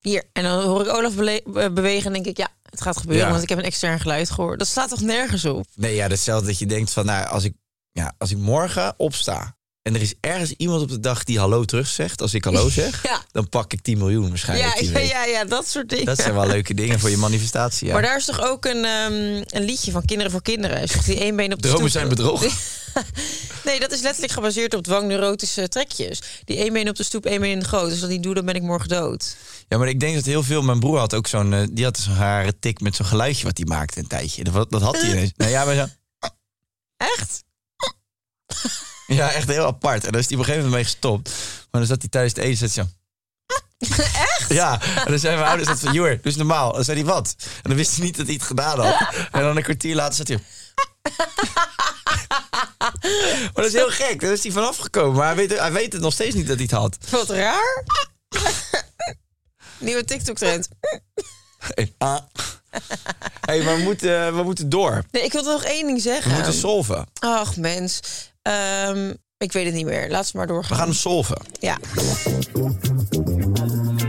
Hier, en dan hoor ik Olaf bele- eh, bewegen en denk ik, ja, het gaat gebeuren,
Ja.
want ik heb een extern geluid gehoord. Dat staat toch nergens op?
Nee, ja, datzelfde dat je denkt van, nou, als ik, ja, als ik morgen opsta en er is ergens iemand op de dag die hallo terug zegt, als ik hallo Oh, zeg,
Ja.
dan pak ik 10 miljoen waarschijnlijk.
Ja,
die
ja,
week.
ja, ja, dat soort dingen.
Dat zijn wel leuke dingen voor je manifestatie. Ja.
Maar daar is toch ook een, ehm, een liedje van Kinderen voor Kinderen? Is toch die één been op de
Dromen
stoep?
zijn bedrog.
Nee, dat is letterlijk gebaseerd op dwangneurotische trekjes. Die één been op de stoep, één been in de goot. Dus dat niet doe, dan ben ik morgen dood.
Ja, maar ik denk dat heel veel. Mijn broer had ook zo'n. eh, Die had zo'n rare tik met zo'n geluidje wat hij maakte een tijdje. Dat, dat had hij ineens. Nou ja, maar zo,
Echt?
ja, echt heel apart. En daar is hij op een gegeven moment mee gestopt. Maar dan zat hij tijdens het eten. Zat hij zo. Echt? Ja, en dan zijn mijn ouders dat van, joer, dus normaal. Dan zei hij wat? En dan wist hij niet dat hij het gedaan had. En dan een kwartier later zat hij... maar dat is heel gek, daar is hij vanaf gekomen. Maar hij weet, hij weet het nog steeds niet dat hij het had.
Wat raar. Nieuwe TikTok-trend.
Hey, ah. hey, maar we moeten, we moeten door.
Nee, ik wilde nog één ding
We
zeggen.
moeten solven.
Ach, mens. Ehm, ik weet het niet meer. Laat ze maar
We
doorgaan.
gaan hem solven.
Ja.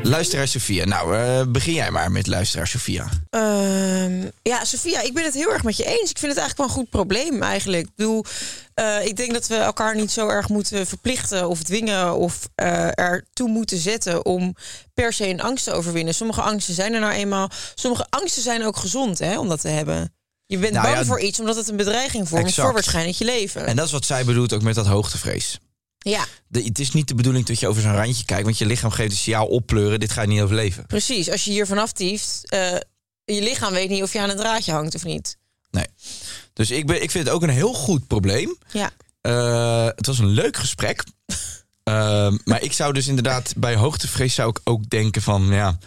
Luisteraar Sofia. Nou, eh, begin jij maar met luisteraar Sofia.
Ehm, ja, Sofia, ik ben het heel erg met je eens. Ik vind het eigenlijk wel een goed probleem eigenlijk. Ik bedoel, eh, ik denk dat we elkaar niet zo erg moeten verplichten of dwingen of eh ertoe moeten zetten om per se een angst te overwinnen. Sommige angsten zijn er nou eenmaal. Sommige angsten zijn ook gezond hè, om dat te hebben. Je bent
Nou
bang
ja,
voor iets omdat het een bedreiging vormt
exact.
voor waarschijnlijk je leven.
En dat is wat zij bedoelt ook met dat hoogtevrees.
ja,
De, het is niet de bedoeling dat je over zo'n randje kijkt, want je lichaam geeft een signaal oppleuren, dit ga je niet overleven.
precies. Als je hier vanaf tieft, eh, je lichaam weet niet of je aan een draadje hangt of niet.
Nee. Dus ik, ben, ik vind het ook een heel goed probleem.
Ja,
Eh, het was een leuk gesprek. Ehm, maar ik zou dus inderdaad bij hoogtevrees zou ik ook denken van ja,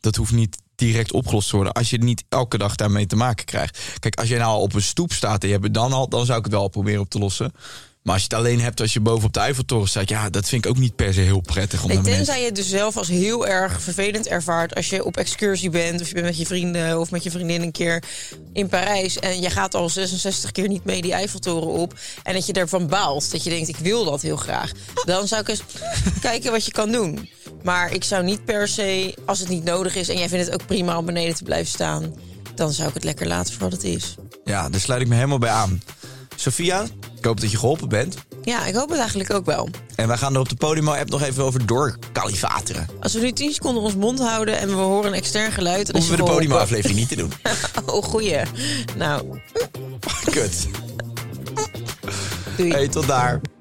dat hoeft niet direct opgelost te worden als je niet elke dag daarmee te maken krijgt. Kijk, als je nou op een stoep staat en je hebt het dan al, dan zou ik het wel proberen op te lossen. Maar als je het alleen hebt als je boven op de Eiffeltoren staat, ja, dat vind ik ook niet per se heel prettig. Om
Nee,
naar beneden-
tenzij je het dus zelf als heel erg vervelend ervaart als je op excursie bent of je bent met je vrienden of met je vriendin een keer in Parijs en je gaat al 66 keer niet mee die Eiffeltoren op en dat je daarvan baalt, dat je denkt ik wil dat heel graag, dan zou ik eens kijken wat je kan doen. Maar ik zou niet per se, als het niet nodig is en jij vindt het ook prima om beneden te blijven staan, dan zou ik het lekker laten voor wat het is.
Ja, daar sluit ik me helemaal bij aan. Sophia, ik hoop dat je geholpen bent.
Ja, ik hoop het eigenlijk ook wel.
En wij gaan er op de Podimo-app nog even over doorkalifateren.
Als we nu 10 seconden ons mond houden en we horen een extern geluid... dan is
Hoeven we
je
de
geholpen.
Podimo-aflevering niet te doen.
Oh, goeie. Nou,
Kut.
doei.
Hey, tot daar.